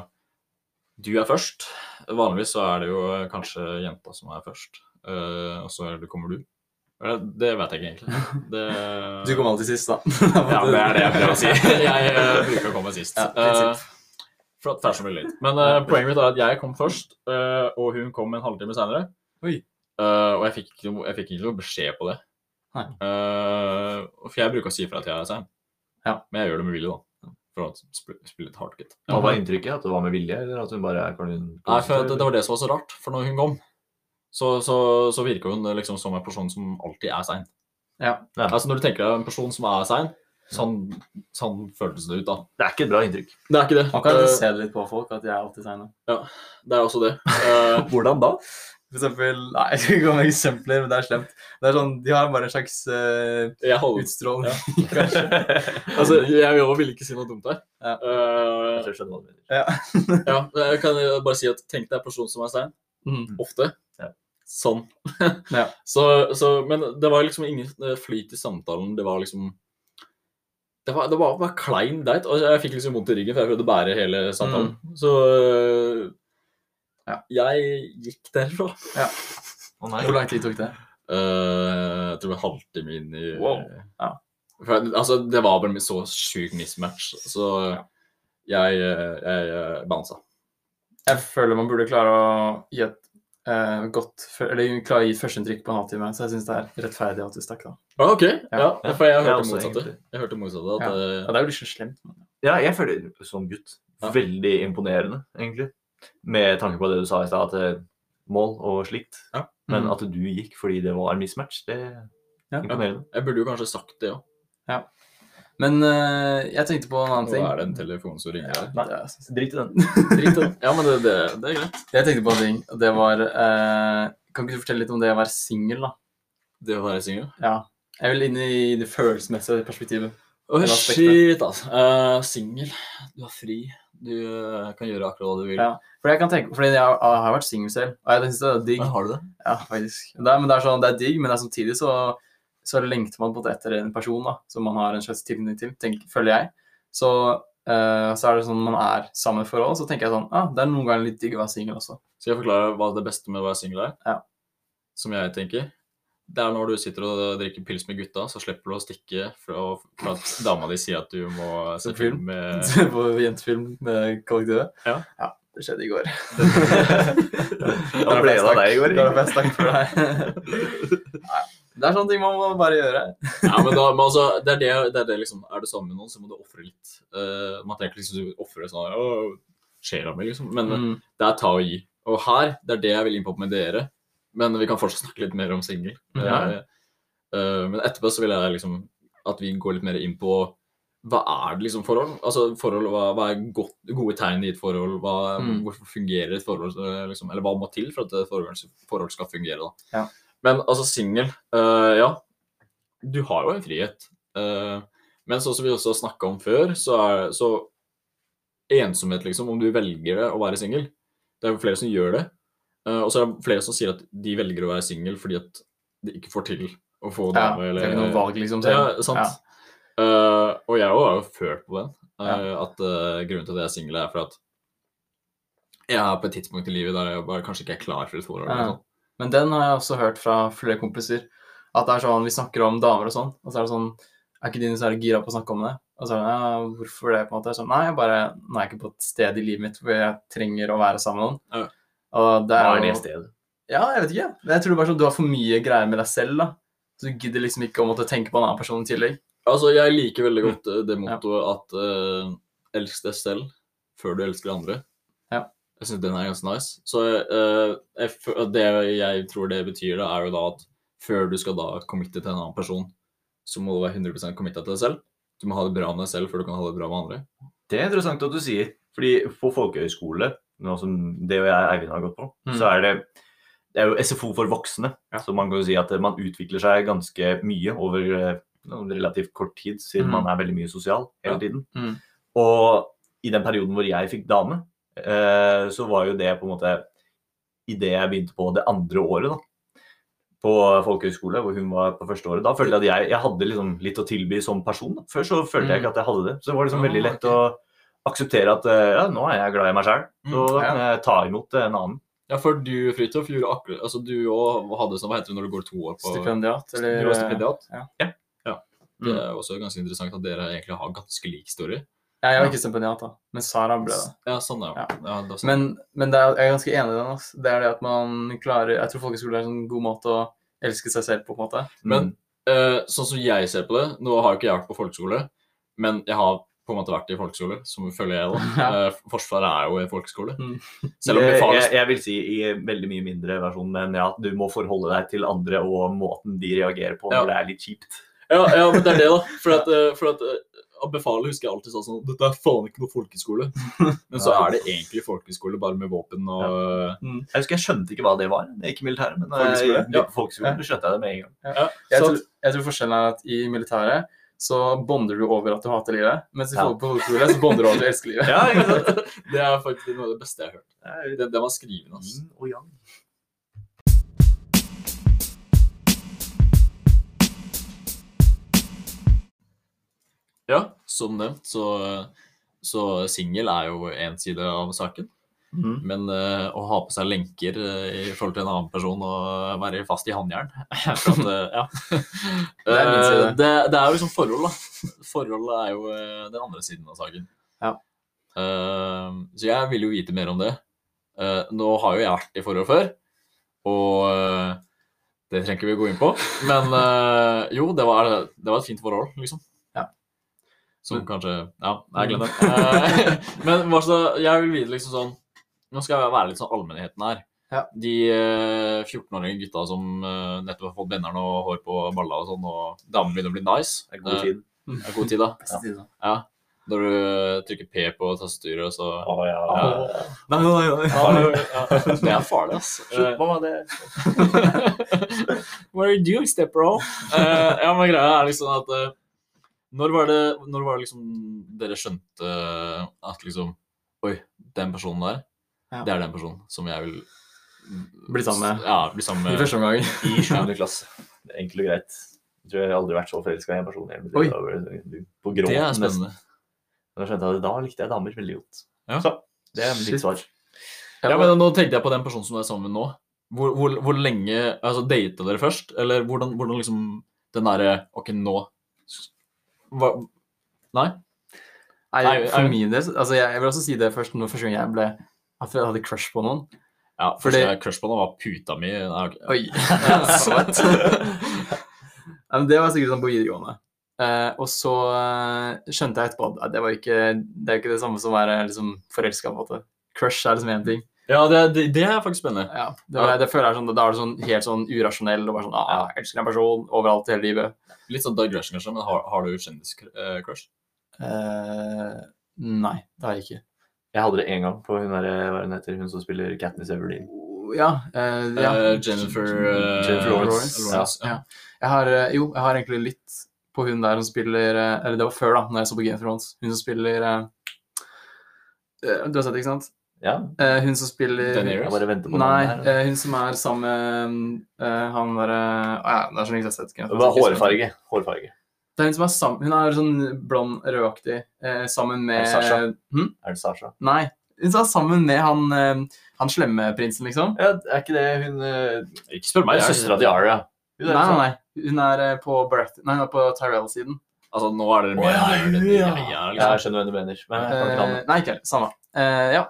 S1: du er først Vanligvis så er det jo eh, kanskje jenta som er først. Eh, og så er det, kommer du. Eh, Det vet jeg ikke egentlig. Det,
S2: Du kom alltid sist, da.
S1: ja, det er det jeg prøver å si. Jeg eh, bruker å komme sist.
S2: Ja,
S1: Eh,
S2: prinsipp.
S1: for at fashion relate. Men eh, poenget mitt er at jeg kom først, eh, og hun kom en halvtime seinere.
S2: Oi.
S1: og jeg fikk, ikke noe- jeg fikk ikke noe besked på det.
S2: Nei.
S1: Eh, for jeg bruker å si ifra at jeg er sein,
S2: Ja.
S1: men jeg gjør det med vilje, da. For å sp- spille litt hardt, gitt.
S3: Hva var inntrykket? At det var med vilje, eller at hun bare er Karoline?
S1: Nei, for det, det var det som var så rart, for når hun kom, så, så, så virka hun liksom som en person som alltid er sein.
S2: Ja.
S3: Ja.
S1: Altså Når du tenker deg en person som er sein, sånn, sånn føltes det ut da.
S3: Det er ikke et bra inntrykk.
S1: Det er ikke det.
S2: Man kan
S1: Eh,
S2: alltid se det litt på folk at jeg er alltid tegna.
S1: det er også det. Eh,
S3: Hvordan da?
S2: For eksempel Nei, jeg skal ikke komme med eksempler, men det er slemt. Det er sånn, De har bare en slags eh,
S1: jeg holder
S2: utstråling.
S1: Altså, jeg vil- vil ikke si noe dumt her.
S2: Ja.
S3: Jeg
S1: Eh,
S3: tror jeg skjønner hva du mener.
S1: ja, jeg kan jo bare si at tenk deg en person som er sein,
S2: Mm.
S1: ofte.
S3: Ja.
S1: Sånn.
S2: Ja.
S1: Så, så, men det var liksom ingen eh, flyt i samtalen. Det var liksom Det var, det var bare klein date. Og jeg fikk liksom vondt i ryggen, for jeg prøvde å bære hele samtalen. Så øh, jeg gikk derfra.
S3: Å
S2: Hvor
S3: nei.
S2: lang tid tok det?
S1: Eh, jeg tror det var halvtime inn i
S2: Wow. Ja.
S1: For, jeg- altså, det var bare så sjuk mismatch, så jeg, eh, jeg eh, bounsa.
S2: Jeg føler man burde klare å gi et eh, godt fø- Eller klare å gi et førsteinntrykk på en halvtime. Så jeg syns det er rettferdig at du stakk, da.
S1: Ah, OK. Ja,
S3: Ja.
S1: for jeg
S3: Ja,
S1: hørte
S3: også
S1: motsatte.
S3: egentlig.
S1: Jeg hørte motsatte at
S2: Ja.
S1: eh,
S2: altså, Ja, det er jo litt så slemt.
S3: Ja, jeg føler som gutt
S1: Ja.
S3: veldig imponerende, egentlig. Med tanke på det du sa i stad, at eh, mål og slikt.
S1: Ja.
S3: Men
S2: Mhm.
S3: at du gikk fordi det var mismatch, det er
S2: Ja.
S3: imponerende.
S1: Jeg burde jo kanskje sagt det òg.
S2: Men eh, jeg tenkte på en annen
S1: Nå
S2: ting.
S1: er det en telefon som ringer her.
S2: Ja, det er-
S3: Drit i den.
S1: Drit i det. Ja, men det, det, det er greit.
S2: Jeg tenkte på en ting, og det var eh, Kan ikke du fortelle litt om det å være singel, da?
S1: Det å være singel.
S2: Ja. Jeg vil inn i det følelsesmessige perspektivet.
S1: Å,
S2: Eller aspektet.
S1: shit, altså. Eh, singel. Du er fri. Du eh, kan gjøre akkurat hva du vil.
S2: Ja. For jeg kan tenke, fordi jeg, har- jeg har vært singel selv, og jeg syns det er digg.
S1: Men har du det?
S2: Ja, faktisk. Det er, men det er, sånn, det er digg, men det er samtidig så, så lengter man på en måte etter en person da, som man har en slags tilknytning til, tenk, føler jeg. Så, eh, så er det sånn man er sammen for også, så tenker jeg sånn, ah, det er noen ganger litt digg å være singel også.
S1: Skal jeg forklare hva det beste med å være singel er?
S2: Ja.
S1: Som jeg tenker. Det er når du sitter og drikker pils med gutta, så slipper du å stikke fra, fra at dama di sier at du må se
S2: Se film.
S1: film med
S2: Se på jentefilm med kollektivet.
S1: Ja.
S2: ja. Det skjedde i går.
S3: Da ble det av deg i går.
S2: Det var best takk for deg. Nei, Det er sånne ting man må bare gjøre.
S1: Ja, men da, men altså, det er det, det er det liksom, er du sammen med noen, så må du ofre litt. Eh, man trenger ikke liksom ofre sånn «Åh, sjela mi, liksom. Men
S2: Mm.
S1: det er ta og gi. Og her, det er det jeg vil inn på med dere. Men vi kan fortsatt snakke litt mer om singel.
S2: Ja.
S1: Eh, eh, men etterpå så vil jeg liksom at vi går litt mer inn på hva er det liksom forhold? Altså forhold, Hva, hva er godt, gode tegn i et forhold? Hva,
S2: Mm.
S1: Hvorfor fungerer et forhold? eh, Liksom, eller hva må til for at et forhold, forhold skal fungere? da?
S2: Ja.
S1: Men altså singel, eh, ja. Du har jo en frihet. eh, men sånn som vi også snakka om før, så er så ensomhet, liksom, om du velger det å være singel. Det er jo flere som gjør det. Eh, og så er det flere som sier at de velger å være singel fordi at de ikke får til å få
S2: Ja,
S1: dame.
S2: det er ikke noe valg, liksom. selv.
S1: Ja, sant.
S2: Ja.
S1: Eh, og jeg òg har jo følt på den. eh, At eh, grunnen til at jeg er singel, er for at jeg er på et tidspunkt i livet der jeg bare kanskje ikke er klar for et forhold. eller
S2: Ja.
S1: noe sånt.
S2: Men den har jeg også hørt fra flere kompiser. At det er sånn, vi snakker om damer og sånn, og så er det sånn Er ikke dine særlig gira på å snakke om det? Og så er det ja, hvorfor det? på en måte? Sånn, nei, jeg bare nå er jeg ikke på et sted i livet mitt hvor jeg trenger å være sammen med
S1: Ja.
S2: noen. Og det
S3: Hva
S2: er
S3: er det
S2: jo-
S3: stedet?
S2: Ja, jeg vet ikke. Men jeg tror det er bare sånn, du har for mye greier med deg selv, da. Så du gidder liksom ikke å måtte tenke på en annen person i tillegg.
S1: Altså, jeg liker veldig godt
S2: Mm.
S1: eh, det mottoet at eh, elsk deg selv før du elsker andre.
S2: Ja.
S1: Jeg syns den er ganske nice. Så eh, jeg, fø- det jeg tror det betyr, da, er jo da at før du skal da committe til en annen person, så må du være 100 committa til deg selv. Du må ha det bra med deg selv før du kan ha det bra med andre.
S3: Det er interessant at du sier. Fordi på folkehøyskole, nå som det og jeg Eivind har gått på,
S2: Mm.
S3: så er det, det er jo SFO for voksne. Så man kan jo si at man utvikler seg ganske mye over eh, noen relativt kort tid, siden
S2: Mhm.
S3: man er veldig mye sosial hele
S1: Ja.
S3: tiden.
S2: Mhm.
S3: Og i den perioden hvor jeg fikk dame, eh, så var jo det på en måte i det jeg begynte på det andre året, da. På folkehøyskole, hvor hun var på første året. Da følte jeg at jeg, jeg hadde liksom litt å tilby som person. Da. Før så følte jeg
S2: Mhm.
S3: ikke at jeg hadde det. Så det var liksom
S2: Ah,
S3: veldig lett
S2: ok.
S3: å akseptere at eh, ja, nå er jeg glad i meg sjøl. Så
S2: Mm,
S3: da
S2: ja.
S3: kan jeg ta imot en annen.
S1: Ja, for du, Fridtjof, gjorde akkurat Altså, du òg hadde sånn Hva heter det når du går to år på
S2: Stipendiat, eller
S1: Du var stipendiat?
S2: ja.
S3: Ja.
S1: ja. Det er også ganske interessant at dere egentlig har ganske lik story.
S2: Ja, jeg var ikke stipendiat, da. Men Sara ble det.
S1: Ja, sånn er det.
S2: Ja.
S1: Ja, det er sånn.
S2: Men, men det er, jeg er ganske enig i den. ass. Det er det at man klarer Jeg tror folkeskole er en sånn god måte å elske seg selv på, på en måte.
S1: Men-
S3: Mm.
S1: Eh, sånn som jeg ser på det Nå har jo ikke jeg vært på folkeskole, men jeg har på en måte vært i folkeskole, som følger jeg, da.
S2: Ja.
S1: Eh, forsvaret er jo en folkeskole.
S2: Mm.
S1: Selv om det
S3: jeg,
S1: fares
S3: jeg, jeg vil si i veldig mye mindre versjon, men ja, du må forholde deg til andre og måten de reagerer på
S1: Ja.
S3: når det er litt kjipt.
S1: ja, ja, men det er det, da. For at, eh, for at eh, av befalet husker jeg alltid sa sånn Dette er faen ikke noe folkeskole. Men så
S3: Ja.
S1: er det egentlig folkeskole, bare med våpen og
S3: Jeg husker jeg skjønte ikke hva det var. Jeg gikk i militæret, men når jeg
S1: Folkeskole,
S3: gikk
S1: ja.
S3: på folkeskolen så skjønte jeg det med en gang.
S1: ja,
S2: Jeg,
S1: så,
S2: tror, jeg tror forskjellen er at i militæret så bonder du over at du hater livet, mens i
S3: Ja.
S2: folk på folkeskole så bonder du over at du elsker livet.
S3: Ja, ikke sant?
S1: Det er faktisk noe av det beste jeg har hørt. Det, det var skrivende, altså.
S3: Yin og yang.
S1: Ja, som nevnt, så, så singel er jo én side av saken.
S2: Mhm.
S1: Men eh, å ha på seg lenker eh, i forhold til en annen person og være fast i håndjern for at, eh, ja.
S2: Det er min side.
S1: Eh, det, det er jo liksom forhold, da. Forhold er jo eh, den andre siden av saken.
S2: Ja.
S1: Eh, så jeg vil jo vite mer om det. Eh, nå har jo jeg vært i forhold før, og eh, det trenger ikke vi gå inn på. Men eh, jo, det var, det var et fint forhold, liksom.
S2: Ja.
S3: Mm.
S1: Som kanskje Ja, jeg glem det. Eh, men hva så- jeg vil vite liksom sånn nå skal jeg være litt sånn allmennheten her.
S2: Ja.
S1: De eh, 14-årige gutta som eh, nettopp har fått benneren og hår på balla og sånn, og damene begynner å bli nice. Eh,
S3: Det er god tid.
S1: Det er god tid, da.
S2: Beste tiden.
S1: Ja. Når du trykker P på tastaturet, så
S3: Å, ja.
S1: Ja.
S3: Nei, nei, nei, nei.
S1: Det er farlig, ass.
S2: Eh,
S3: Slutt med det.
S1: What are you doing, step bro? Eh, ja, men greia er liksom at eh, når, var det, når var det liksom dere skjønte at liksom Oi, den personen der,
S2: Ja.
S1: det er den personen som jeg vil
S2: Bli sammen med.
S1: Ja, bli sammen
S2: I
S1: med.
S2: første omgang.
S3: I sjuende klasse. Det er enkelt og greit. Jeg tror jeg aldri har vært så forelska i en person. i hele mitt liv.
S2: Oi.
S3: Det var vel- På
S1: Det er
S3: gråten, nesten.
S1: spennende.
S3: Da skjønte jeg det. Da likte jeg damer veldig godt.
S1: Ja.
S3: Så det er
S2: Shit.
S3: mitt svar.
S1: Ja, men Nå tenkte jeg på den personen som du er sammen med nå. Hvor, hvor, hvor lenge altså Data dere først? Eller hvordan, hvordan liksom den derre OK, nå Hva, Nei?
S2: Nei,
S1: Nei,
S2: for
S1: nei.
S2: min del, altså jeg, jeg vil også si det først når første gang jeg ble At jeg hadde crush på noen.
S1: Ja,
S2: Fordi-
S1: Første crush på henne var puta mi. Nei, ok.
S2: Oi, søt. Ja, men det var sikkert sånn på videregående. Eh, og så eh, skjønte jeg etterpå at eh, det, var ikke, det er jo ikke det samme som å være liksom, forelska. på en måte. Crush er liksom én ting.
S1: Ja, det, det, det er faktisk spennende.
S2: Ja, det, var, det føler jeg er sånn, Da er du sånn, helt sånn urasjonell og bare sånn ah, jeg elsker en person overalt i hele livet.
S1: Litt sånn digression, kanskje, men har, har du kjendiscrush?
S2: Eh, nei, det har jeg ikke.
S3: Jeg hadde det én gang på hun der, eh, hva er hun heter, hun som spiller Katniss Everdeen.
S2: Ja, eh, ja.
S1: Eh, Jennifer, eh,
S3: Jennifer Lawrence.
S1: Lawrence, ja.
S2: Ja. Jeg har, eh, jo, jeg har egentlig litt på hun der som spiller eh, Eller det var før, da, når jeg så på Game of Thrones. Hun som spiller eh, eh, Du har sett det, ikke sant?
S3: Ja,
S2: Eh, hun som spiller
S1: Daenerys?
S3: jeg bare venter på
S2: Nei,
S3: navnet her.
S2: eh, hun som er sammen med eh, han derre ja, Det er så lenge siden jeg har sett Game of
S3: Det
S2: Thrones,
S3: var
S2: jeg husker ikke.
S3: hårfarge. hårfarge.
S2: Det er hun som er sammen Hun er sånn blond, rødaktig, eh, sammen med
S3: Sasha?
S2: Hm?
S3: Er det Sasha?
S2: Nei. Hun som er sammen med han, eh, han slemme prinsen, liksom.
S3: Ja, er ikke det hun eh,
S1: Ikke spør meg. jeg-
S3: Søstera til Aria. Hun
S2: Nei,
S3: er sånn-
S2: nei, nei. Hun er eh, på, Barath- nei, hun er på Tyrell-siden.
S1: Altså, nå er dere
S3: Å,
S1: mer
S3: ja,
S1: nerd enn
S3: hun,
S1: vi
S3: ja.
S1: er,
S3: Ja,
S1: liksom.
S3: jeg skjønner hvem du mener. Men jeg kan ikke
S2: Eh,
S3: navnet.
S2: nei, ikke helt. Samme. Eh, ja.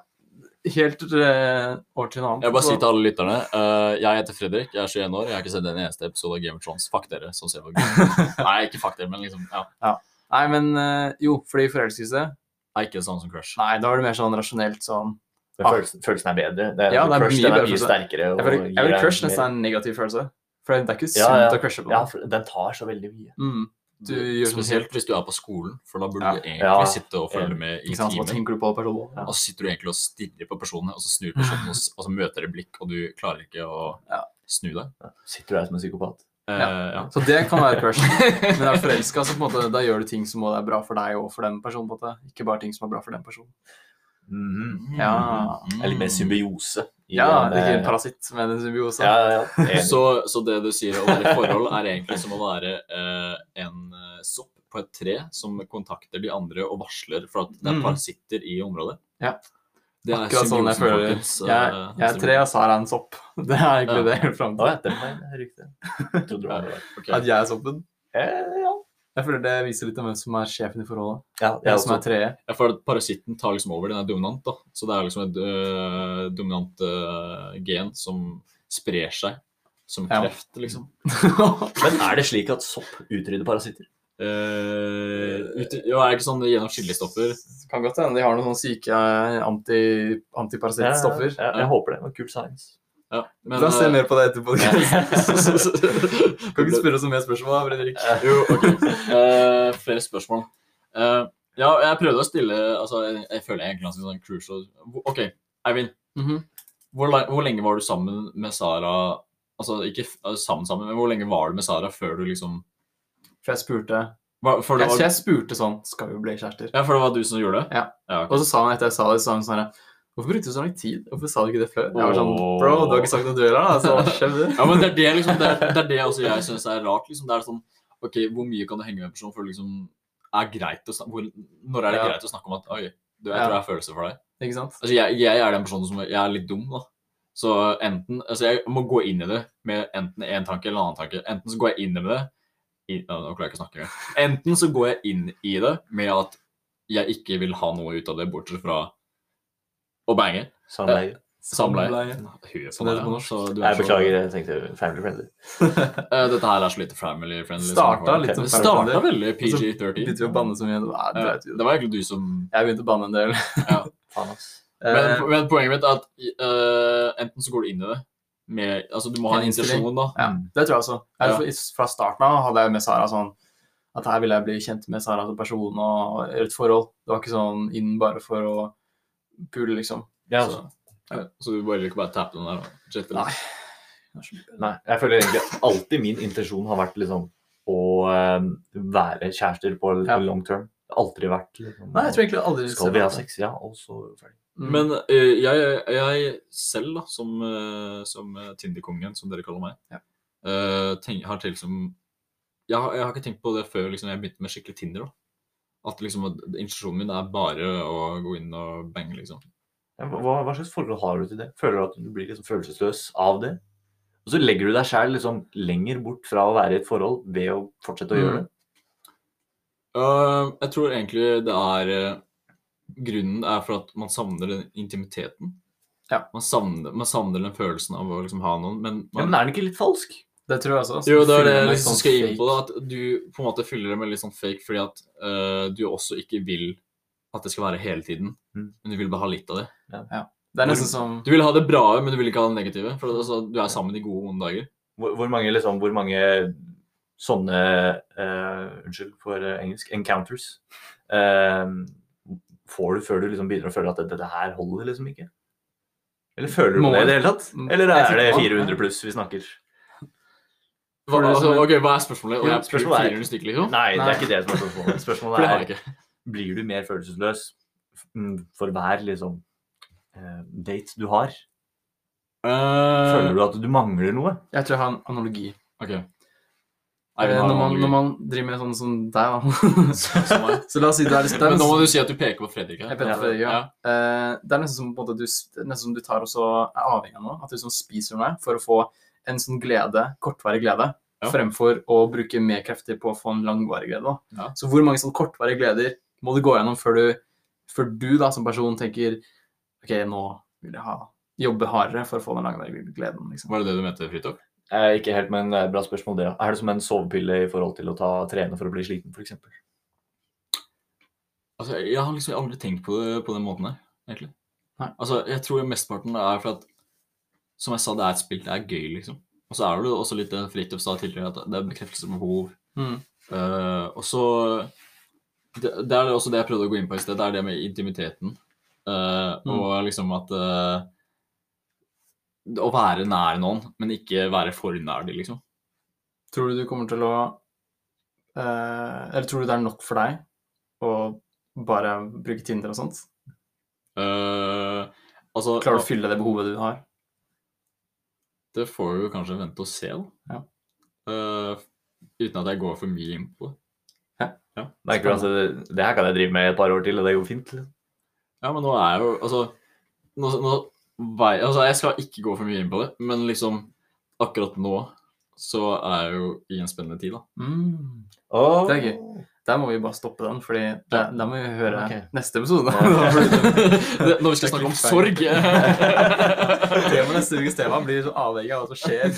S2: Helt eh, over til en annen.
S1: Jeg vil bare
S2: Så-
S1: sier til alle lytterne eh, Jeg heter Fredrik, jeg er 21 år, jeg har ikke sett en eneste episode av Game of Thrones. Fuck dere. som ser på Game. Nei, ikke fuck dere, men liksom ja.
S2: Nei, men eh, jo, fordi forelskelse
S1: Det er ikke det samme som crush.
S2: Nei, da var det mer sånn rasjonelt sånn
S3: Men følelsen, følelsen er bedre. Det er,
S2: Ja, det er
S3: crush,
S2: mye
S3: den er
S2: bedre
S3: mye
S2: følelse.
S3: sterkere.
S2: Jeg
S3: og
S2: vil, jeg vil
S3: gir deg
S2: crush
S3: mer-
S2: nesten er en negativ følelse. For det er ikke sunt
S3: Ja, ja.
S2: å crushe på
S3: Ja,
S2: noen.
S3: for den tar så veldig mye.
S2: Mm. Du gjør sånn helt
S1: Spesielt hvis du er på skolen, for da burde
S2: Ja.
S1: du egentlig
S3: Ja.
S1: sitte og følge med i
S2: ikke sant, Hva
S1: timen.
S2: tenker du på personen? Ja.
S1: Og så sitter du egentlig og stirrer på personene, og så snur personen, og s- og så møter de blikk, og du klarer ikke å
S2: Ja.
S1: snu deg.
S3: Sitter du her som en psykopat?
S1: Eh, ja.
S2: Så det kan være crush. Men er du forelska, så på en måte, da gjør du ting som også er bra for deg og for den personen. på en måte. Ikke bare ting som er bra for den personen.
S3: Mhm.
S2: Ja.
S1: Mm.
S3: Det er litt mer symbiose. i
S2: Ja,
S3: den,
S2: det er ikke en
S3: eh,
S2: parasitt, men en symbiose.
S3: Ja, ja, ja. Enig.
S1: Så, så det du sier om det forhold, er egentlig som å være eh, en eh, sopp på et tre som kontakter de andre og varsler for at det er
S2: Mm.
S1: parasitter i området.
S2: Ja.
S1: Det er
S2: Akkurat sånn jeg
S1: symbiosen,
S2: føler.
S1: folkens,
S2: Jeg,
S1: eh,
S2: jeg er tre, og Sara er en sopp. Det er egentlig
S1: Ja.
S2: det helt fram
S3: Å
S2: til.
S3: ja, den veien er riktig. Jeg trodde det var andre veien.
S1: Ok.
S2: At jeg er soppen.
S3: Eh, ja.
S2: Jeg føler det viser litt om hvem som er sjefen i forholdet.
S3: ja, jeg
S2: Hvem
S3: også.
S2: som er treet.
S1: Jeg føler at parasitten tar liksom over, den er dominant, da. Så det er liksom et øh, dominant øh, gen som sprer seg som
S2: Ja.
S1: kreft, liksom.
S3: Men er det slik at sopp utrydder parasitter?
S1: Eh, ut, jo, er det ikke sånn gjennom skillestoffer?
S2: Kan godt hende de har noen sånne syke eh, anti, antiparasittstoffer.
S3: Ja, jeg håper det. det var kul science.
S1: Ja, men,
S2: La oss se
S1: eh,
S2: mer på det etterpå. Kan
S1: Kan
S2: ikke spørre oss om mer spørsmål, Fredrik.
S1: Jo, ok. Eh, flere spørsmål. Eh, ja, jeg prøvde å stille altså, jeg, jeg føler jeg egentlig ganske sånn crucial Hvor- OK, Eivind.
S2: Mhm.
S1: Hvor, lang- hvor lenge var du sammen med Sara Altså ikke f- eh, sammen sammen, men hvor lenge var du med Sara før du liksom
S2: For jeg spurte
S1: hva- før det
S2: jeg,
S1: var,
S2: jeg spurte sånn Skal vi bli kjærester?
S1: Ja, for det var du som gjorde det?
S2: Ja.
S1: ok.
S2: Og så sa han etter jeg sa det, så sa han sånn Hvorfor brukte du så lang tid? Hvorfor sa du ikke det før? Jeg var sånn
S1: Åh.
S2: Bro, du har ikke sagt noe du heller, da. Så hva skjer?
S1: ja, men det er det, liksom, det, er, det er det også jeg syns er rart. Liksom. Det er sånn OK, hvor mye kan du henge med en person før det liksom er greit å snakke hvor, Når er det
S2: Ja.
S1: greit å snakke om at Oi, du, jeg
S2: Ja.
S1: tror jeg har følelser for deg.
S2: Ikke sant?
S1: Altså, jeg, jeg er den personen som Jeg er litt dum, da. Så enten Altså, jeg må gå inn i det med enten én tanke eller en annen tanke. Enten så går jeg inn i det i, ja, Nå klarer jeg ikke å snakke engang. Enten så går jeg inn i det med at jeg ikke vil ha noe ut av det, bortsett fra å bange.
S3: Samleie.
S1: Samleie. Huet på
S2: Som det heter på
S1: deg,
S2: norsk.
S1: så du er
S3: Jeg
S1: så-
S3: beklager, jeg tenkte family friendly.
S1: Eh, Dette her er så lite family friendly. som
S2: Starta
S1: jeg får.
S2: litt som
S1: Det
S2: family friendly.
S1: starta veldig
S2: Og så
S1: PG-13.
S2: Begynte vi å banne så mye? Nei, det
S1: Eh,
S2: vet vi jo.
S1: Det var egentlig du som
S2: Jeg begynte å banne en del.
S3: Faen, ass.
S2: Eh,
S1: Men, men poenget mitt er at eh, enten så går du inn i det med Altså, du må ha en
S2: En innstilling.
S1: intensjon, da.
S2: Ja, det tror jeg også. Jeg,
S1: Ja.
S2: for- Fra starten av hadde jeg med Sara sånn at her ville jeg bli kjent med Sara som person og et forhold. Det var ikke sånn inn bare for å pule, liksom.
S3: Ja,
S2: Så-
S3: altså.
S1: Ja, Så du bare ikke bare tappe den der? da? Jette litt.
S2: Nei.
S3: Nei, jeg føler egentlig at alltid min intensjon har vært liksom å eh, være kjærester på
S2: Ja.
S3: long term. Det har aldri vært liksom,
S2: Nei, jeg tror egentlig aldri
S3: Skal vi ha sex? Ja, og så ferdig.
S2: Mm.
S1: Men eh, jeg, jeg selv, da, som, eh, som eh, Tinder-kongen, som dere kaller meg,
S2: Ja.
S1: eh, tenk, har til som jeg, har- jeg har ikke tenkt på det før liksom, jeg begynte med skikkelig Tinder. da. At liksom, at intensjonen min er bare å gå inn og bange, liksom.
S3: Ja, Hva, hva slags forhold har du til det? Føler du at du blir liksom følelsesløs av det? Og så legger du deg sjæl liksom lenger bort fra å være i et forhold ved å fortsette å gjøre det.
S1: Eh, jeg tror egentlig det er eh, Grunnen er for at man savner den intimiteten.
S2: Ja.
S1: Man, savner, man savner den følelsen av å liksom ha noen, men
S3: Ja,
S1: man,
S3: men er den ikke litt falsk?
S2: Det tror jeg også. altså.
S1: Jo, det er det
S2: Fyller
S1: jeg
S2: med
S1: liksom
S2: sånn
S1: skal inn
S2: fake-
S1: på. da, At du på en måte fyller det med litt sånn fake fordi at eh, du også ikke vil at det skal være hele tiden.
S3: Mm.
S1: Men du vil bare ha litt av det.
S2: Det er nesten som
S1: Du vil ha det bra, men du vil ikke ha det negative. For altså, du er sammen de gode og onde dager.
S3: Hvor, hvor, mange, liksom, hvor mange sånne eh, Unnskyld for eh, engelsk encounters eh, får du før du liksom begynner å føle at dette, dette her holder liksom ikke? Eller føler du
S2: Må
S3: det i
S2: jeg?
S3: det hele tatt?
S2: Mm.
S3: Eller
S2: Jeg
S3: er det
S2: tipper det.
S3: 400 pluss vi snakker?
S1: Hva,
S2: For det
S1: altså,
S2: som er-
S1: ok, hva er spørsmålet? Og
S3: Jo,
S1: jeg er
S3: spørsmålet er-
S1: 400 stykker, liksom?
S3: Nei, det
S2: Nei.
S3: er ikke det som er spørsmålet.
S1: For det har
S3: Spørsmålet
S1: jeg
S3: er
S1: ikke.
S3: blir du mer følelsesløs mm, for hver liksom eh, date du har? Føler du at du mangler noe?
S2: Jeg tror jeg har en analogi.
S1: Eh, Ok. Nei, vi
S2: Eh,
S1: har
S2: Når
S1: en
S2: man,
S1: annen
S2: når
S1: lyd.
S2: man driver med sånn som deg, da.
S1: Som er-
S2: Så la oss si du er litt
S1: Men nå må
S2: spent.
S1: du si at du peker på Fredrik her.
S2: Jeg peker på Fredrik, ja.
S1: ja.
S2: Eh, Det er nesten som, på en måte, du, s- det er nesten som du tar og så er avhengig av noe. At du sånn spiser noe for å få en sånn glede, kortvarig glede,
S1: Ja.
S2: fremfor å bruke mer krefter på å få en langvarig glede. Da.
S1: Ja.
S2: Så hvor mange sånn kortvarige gleder må du gå gjennom før du, før du da, som person tenker OK, nå vil jeg ha jobbe hardere for å få den langvarige gleden. Liksom.
S1: Var det det du mente, Fridtjof?
S3: Eh, ikke helt, men det er et bra spørsmål det. ja. Er det som en sovepille i forhold til å ta, trene for å bli sliten, f.eks.?
S1: Altså, jeg har liksom aldri tenkt på det på den måten her, egentlig.
S2: Nei.
S1: Altså, jeg tror mesteparten er for at, som jeg sa, det er et spill, det er gøy, liksom. Og så er det jo også litt det Fridtjof sa tidligere, at det er bekreftelsesbehov.
S2: Mm.
S1: Eh, og så det, det er også det jeg prøvde å gå inn på i sted, det er det med intimiteten. Eh,
S2: Mm.
S1: Og liksom at eh, Å være nær noen, men ikke være for nær de, liksom.
S2: Tror du du kommer til å eh, Eller tror du det er nok for deg å bare bruke Tinder og sånt?
S1: Eh, altså
S2: Klarer du å fylle det behovet du har?
S1: Det får vi jo kanskje vente og se, da. Eh, uten at jeg går for mye inn på det.
S3: Merker du at det, det her kan jeg drive med et par år til, og det går fint? liksom.
S1: Ja, men nå er jeg jo Altså, nå, nå vei, altså jeg skal ikke gå for mye inn på det, men liksom akkurat nå så er jeg jo i en spennende tid, da.
S2: Mm.
S3: Åh.
S2: Det er Der må vi bare stoppe den, for da da må vi høre
S3: Ok.
S2: neste episode.
S1: Det- Når vi skal snakke om sorg
S2: Temaet neste ukes tema blir så avhengig av hva som skjer.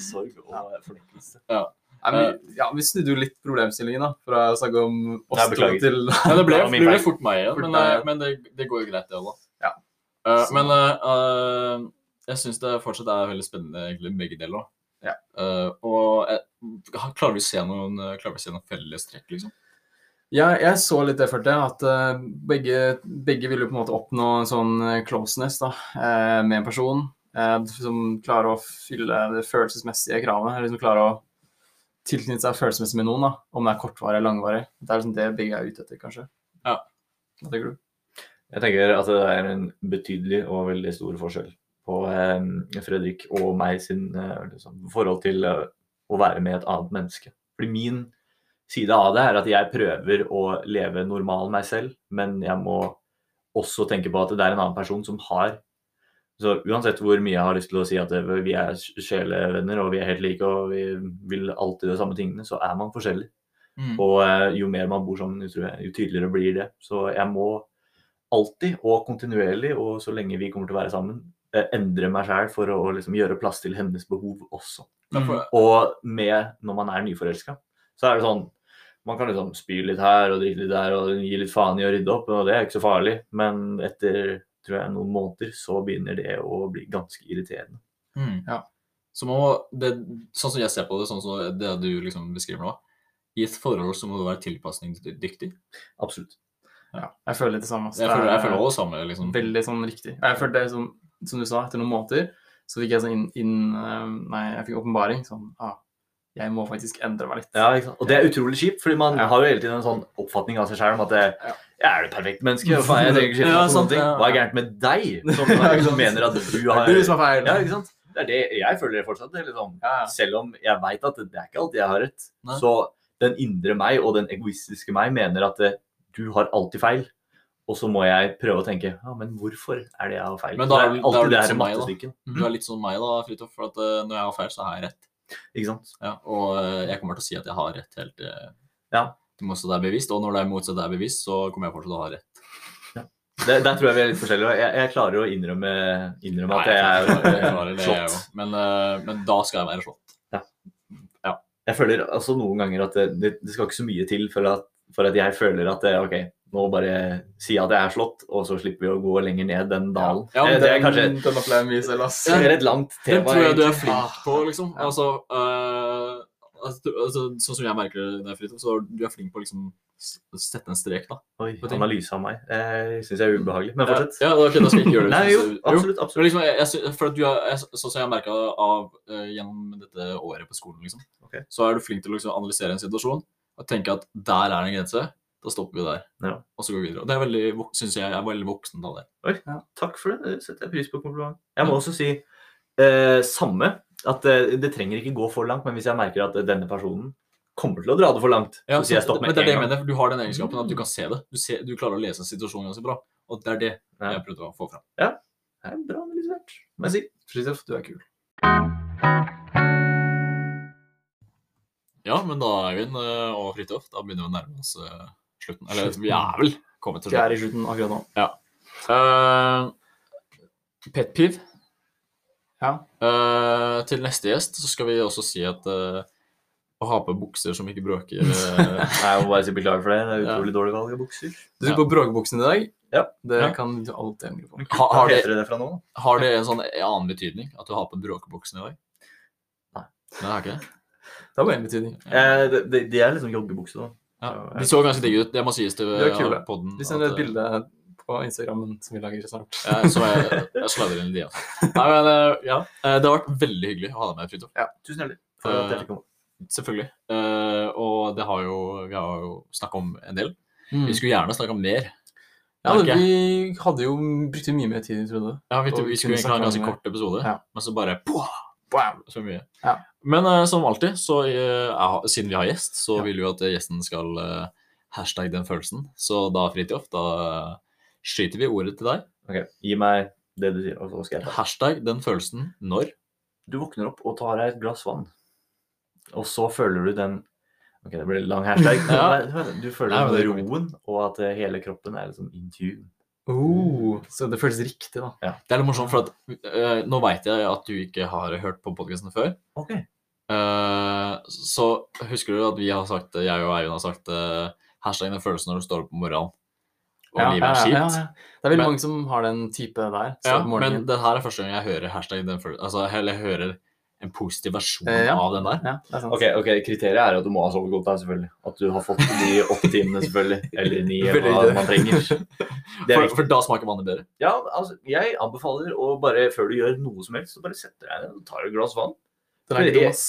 S3: Sorg og fornektelse.
S2: Nei, men, vi- ja, vi snudde jo litt problemstillingen da, fra å snakke om oss
S3: Nei,
S2: to
S3: beklager.
S2: til
S1: Ja, det ble,
S3: Det var min
S1: det ble
S3: feil.
S1: fort meg igjen,
S2: Fort
S1: men,
S2: deg
S1: eh,
S2: igjen.
S1: men det, det går jo greit, det òg, da.
S2: Ja.
S1: Eh,
S2: Så-
S1: men eh, eh, jeg syns det fortsatt er veldig spennende, egentlig, begge deler. da.
S2: Ja.
S1: Eh, og eh, klarer vi å se noen, eh, klarer vi å se noen felles trekk, liksom?
S2: Ja, jeg så litt det for det, at eh, begge, begge ville jo på en måte oppnå en sånn eh, closeness da, eh, med en person eh, som klarer å fylle det følelsesmessige kravene, eller som klarer å tilknytte seg følelsesmessig med noen, da, om det er kortvarig eller langvarig. Det er liksom det begge er ute etter, kanskje.
S1: Ja.
S2: Hva tenker du?
S3: Jeg tenker at det er en betydelig og veldig stor forskjell på eh, Fredrik og meg sin eh, liksom, forhold til eh, å være med et annet menneske. Fordi min side av det er at jeg prøver å leve normal meg selv, men jeg må også tenke på at det er en annen person som har Så uansett hvor mye jeg har lyst til å si at eh, vi er sjelevenner og vi er helt like og vi vil alltid de samme tingene, så er man forskjellig. Og eh, jo mer man bor sammen, jo, tror jeg, jo tydeligere blir det. Så jeg må alltid og kontinuerlig, og så lenge vi kommer til å være sammen, eh, endre meg sjæl for å liksom, gjøre plass til hennes behov også.
S1: Ja,
S2: Mm.
S1: for-
S3: Og med når man er nyforelska, så er det sånn Man kan liksom spy litt her og drikke litt der og gi litt faen i å rydde opp, og det er ikke så farlig. Men etter tror jeg noen måneder så begynner det å bli ganske irriterende.
S1: Ja. hmm. Så man må, det, sånn som jeg ser på det, sånn som det du liksom beskriver nå, i et forhold så må du være tilpasningsdyktig.
S3: Absolutt.
S2: Ja, jeg føler litt det samme. ass.
S1: Jeg
S2: Det
S1: føler, jeg
S2: er-
S1: føler også samme, liksom.
S2: Veldig sånn riktig. Og Jeg følte det som, som du sa, etter noen måneder så fikk jeg sånn inn, inn eh, Nei, jeg fikk åpenbaring. Sånn ah, Jeg må faktisk endre meg litt.
S3: Ja, ikke sant? Og det er utrolig kjipt, fordi man
S2: Ja.
S3: har jo hele tiden en sånn oppfatning av seg sjøl om at det,
S2: Ja.
S3: jeg er det perfekte mennesket. hva Faen, jeg trenger ikke skifte
S2: Ja,
S3: på
S2: sant,
S3: noen ting.
S2: ja, ja.
S3: Hva er gærent med deg, som liksom
S2: Ja, ikke sant.
S3: mener at du
S2: Det
S3: har
S2: er du som er feil.
S3: Ja, ikke sant? Det er det jeg føler det fortsatt. Det er liksom.
S2: Ja, ja.
S3: Selv om jeg veit at det er ikke alltid jeg har rett.
S1: Nei.
S3: Så den indre meg og den egoistiske meg mener at eh, du har alltid feil. Og så må jeg prøve å tenke ja, men hvorfor er det jeg har feil?
S1: Men da er
S3: det
S1: det- da er det
S3: er alltid det
S1: litt
S3: her
S1: som meg, da.
S3: mattestykket.
S1: Du er litt sånn meg, da, Fridtjof, for at eh, når jeg har feil, så har jeg rett.
S3: Ikke sant?
S1: Ja, og eh, jeg kommer til å si at jeg har rett helt eh, til
S3: Ja.
S1: det motsatte er bevisst. Og når det er motsatt er bevisst, så kommer jeg fortsatt til å ha rett.
S3: Der, der tror jeg vi er litt forskjellige. Jeg, jeg klarer å innrømme, innrømme at jeg
S1: klarer- jeg klarer
S3: er
S1: det, jeg
S3: slått.
S1: også. Men, eh, men da skal jeg være slått.
S3: Jeg føler altså noen ganger at det, det, det skal ikke så mye til for at, for at jeg føler at eh, OK, nå bare si at jeg er slått, og så slipper vi å gå lenger ned den dalen.
S1: Ja,
S3: Eh,
S1: men
S3: det, er kanskje
S2: Den, den opplever jeg mye selv, ass.
S3: det er et langt
S1: Det
S3: tema.
S1: tror jeg du er
S3: egentlig. Ah,
S1: flink på, liksom.
S2: Ja.
S1: Altså, eh, altså, altså, sånn som jeg merker det, der, Fridtjof, så du er flink på å liksom s- sette en strek, da.
S3: Oi,
S1: på ting. Mm.
S3: analyse av meg. Eh, syns jeg er ubehagelig. Men fortsett.
S1: Ja, da, ok, da skal jeg ikke gjøre det.
S3: Nei, jo, absolutt.
S1: Jo, men
S3: absolutt.
S1: liksom, jeg, jeg, sy- for at du er, jeg, sånn som jeg merka av eh, gjennom dette året på skolen, liksom,
S3: Ok.
S1: så er du flink til å liksom, analysere en situasjon og tenke at der er det en grense. Da stopper vi der,
S3: Ja.
S1: og så går vi videre. Og Det er veldig vok- synes jeg er veldig voksent av deg.
S3: Takk for det. Det setter jeg pris på. Kompliment. Jeg
S1: Mm.
S3: må også si eh, samme. At eh, det trenger ikke gå for langt, men hvis jeg merker at denne personen kommer til å dra det for langt, så sier jeg stopp
S1: men
S3: med
S1: det er det
S3: en
S1: jeg
S3: gang.
S1: mener, for Du har den egenskapen at du kan se det. Du, ser, du klarer å lese situasjonen ganske bra. Og det er det
S3: Ja.
S1: jeg prøvde å få fram.
S3: Det er bra analysert, må jeg si.
S2: Fridtjof, du er kul.
S1: Ja, men da Eivind eh, og Fridtjof, da begynner vi å nærme oss eh, slutten. Eller vi er vel kommet til
S2: Vi
S1: slutten.
S2: er i slutten akkurat nå.
S1: Uh, pet peeve.
S2: Ja.
S1: Eh, til neste gjest så skal vi også si at eh, å ha på bukser som ikke bråker eh,
S3: Nei, jeg må bare si beklager for det. Det er
S1: Ja.
S3: utrolig dårlig valg av bukser.
S2: Du
S1: Ja.
S2: tok på bråkebuksene i dag.
S3: Ja.
S2: Det
S1: Ja.
S2: kan liksom du alltid angre på.
S1: ha,
S3: Hva
S1: har, det,
S3: heter det fra nå? da?
S1: har det en sånn annen betydning? At du har på bråkebuksene i dag?
S3: Nei.
S1: Nei, har ikke det?
S2: Det har bare én betydning.
S3: Eh, de, de, de er liksom joggebukser, da.
S1: Ja.
S3: Ja,
S1: De så ganske digge ut. Det må sies til
S2: De eh, er kule.
S1: eh, podden.
S2: Vi sender
S1: at,
S2: et
S1: eh,
S2: bilde på Instagrammen som vi lager snart.
S1: ja, så jeg, jeg sladrer inn de, altså. Nei, men eh, ja. eh, det har vært veldig hyggelig å ha deg med, Fridtjof.
S3: Tusen hjertelig. Eh, For at jeg fikk komme.
S1: Selvfølgelig. Eh, og det har jo, vi har jo snakka om en del. Vi skulle gjerne snakka mer.
S2: Mm. Ja,
S1: Men
S2: det,
S1: ikke-
S2: vi hadde jo brukt mye mer tid enn vi trodde.
S1: Ja, vi,
S2: Og
S1: vi
S2: vi
S1: skulle
S2: kunne
S1: egentlig ha en
S2: snakke
S1: ganske
S2: om det.
S1: kort episode,
S2: Ja.
S1: men så bare pow, så mye.
S2: Ja.
S1: Men eh, som alltid, så eh, er- siden vi har gjest, så
S2: Ja.
S1: vil vi jo at gjesten skal eh, hashtag den følelsen. Så da, Fridtjof, da eh, skyter vi ordet til deg.
S3: Ok, Gi meg det du sier, og så skal jeg ta.
S1: Hashtag den følelsen når.
S3: Du våkner opp og tar deg et glass vann. Og så føler du den Ok, det ble litt lang hashtag.
S1: Ja.
S3: Nei, Du
S1: Nei,
S3: føler
S1: men det går
S3: den roen, og at eh, hele kroppen er liksom in tune.
S2: Oh, så det føles riktig, da.
S1: Det er litt morsomt, for at, eh, nå veit jeg at du ikke har hørt på podkasten før.
S3: Ok.
S1: Eh, så husker du at vi har sagt, jeg og Eivind har sagt eh, hashtag den følelsen når du står opp om morgenen og livet er kjipt.
S2: ja, ja. Det er veldig
S1: Men-
S2: mange som har den type der.
S1: Ja,
S2: start
S1: men
S2: morgenen.
S1: det her er første gang jeg hører hashtag den følelsen. Altså, eller jeg hører en positiv versjon
S2: Eh, ja.
S1: av den der.
S2: Ja, det er sant.
S3: Ok, ok, Kriteriet er at du må ha sovet godt, da, selvfølgelig. At du har fått de åtte timene, selvfølgelig. Eller ni, eller hva
S2: Veldig.
S3: man trenger. Det er
S1: For,
S3: viktig.
S1: for da smaker vannet bedre.
S3: Ja, altså, jeg anbefaler å bare, før du gjør noe som helst, så bare setter deg ned og tar et glass vann.
S2: Den er ikke dum, ass.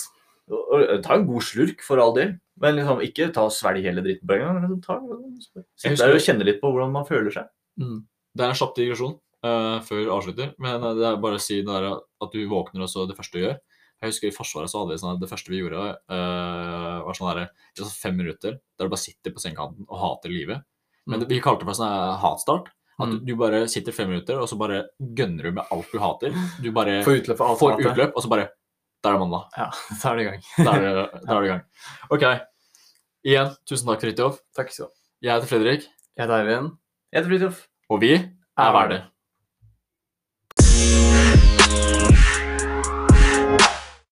S3: Og, og, eh, ta en god slurk, for all del. Men liksom, ikke ta og svelg hele dritten på en gang. Liksom, ta,
S1: Jeg
S3: Sitt
S1: husker-
S3: der og kjenne litt på hvordan man føler seg.
S2: Mm.
S1: Det er en kjapp digresjon eh, før vi avslutter, men eh, det er bare å si det der at du våkner, og så det første du gjør. Jeg husker I Forsvaret så hadde vi sånn at det første vi gjorde, eh, var sånn der, det var sånn fem minutter der du bare sitter på sengekanten og hater livet. Men
S2: Mm.
S1: Vi kalte det for sånn eh, hatstart. At du,
S2: Mm.
S1: du bare sitter fem minutter, og så bare gønner du med alt du hater. Du bare
S2: Få utløp for alt.
S1: Eh, får
S2: hatet.
S1: utløp, og så bare Der er mandag.
S2: Ja, så er det i gang.
S1: Da er det, da er det i gang. OK. Igjen, tusen takk, Fridtjof.
S2: Takk skal du ha.
S1: Jeg heter Fredrik,
S2: Jeg heter Eivind.
S3: Jeg heter Fridtjof.
S1: og vi er verdig.